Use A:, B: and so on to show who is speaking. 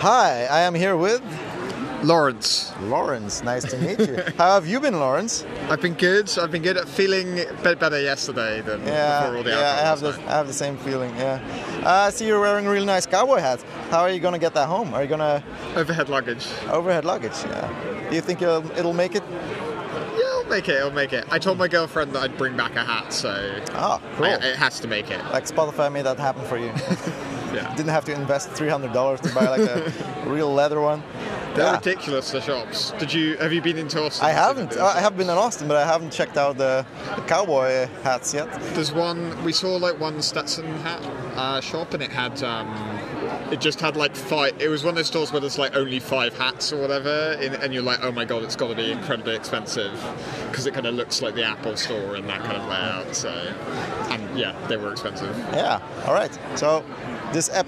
A: Hi, I am here with
B: Lawrence.
A: Lawrence. Nice to meet you. How have you been, Lawrence?
B: I've been good. I've been good at feeling a bit better yesterday than
A: Yeah,
B: before all the
A: yeah. I
B: alcohol
A: have
B: last
A: the
B: night.
A: I have the same feeling. Yeah. Uh, I see you're wearing a really nice cowboy hat. How are you gonna get that home? Are you gonna
B: overhead luggage.
A: overhead luggage? Yeah. Do you think it'll, it'll make it?
B: Yeah, I'll make it. I'll make it. I told my girlfriend that I'd bring back a hat, so
A: Ah, cool.
B: I- it has to make it.
A: like Spotify made that happen for you.
B: Yeah,
A: Didn't have to invest three hundred dollars to buy like a real leather one.
B: they're
A: Yeah.
B: ridiculous. The shops. Did you? Have you been into Austin?
A: I haven't. Oh, I have been in Austin, but I haven't checked out the, the cowboy hats yet.
B: There's one. We saw like one Stetson hat uh, shop, and it had. Um, it just had like five. It was one of those stores where there's like only five hats or whatever, in, and you're like, oh my god, it's got to be incredibly expensive because it kind of looks like the Apple store and that kind of layout. So, and yeah, they were expensive.
A: Yeah. All right. So this ep-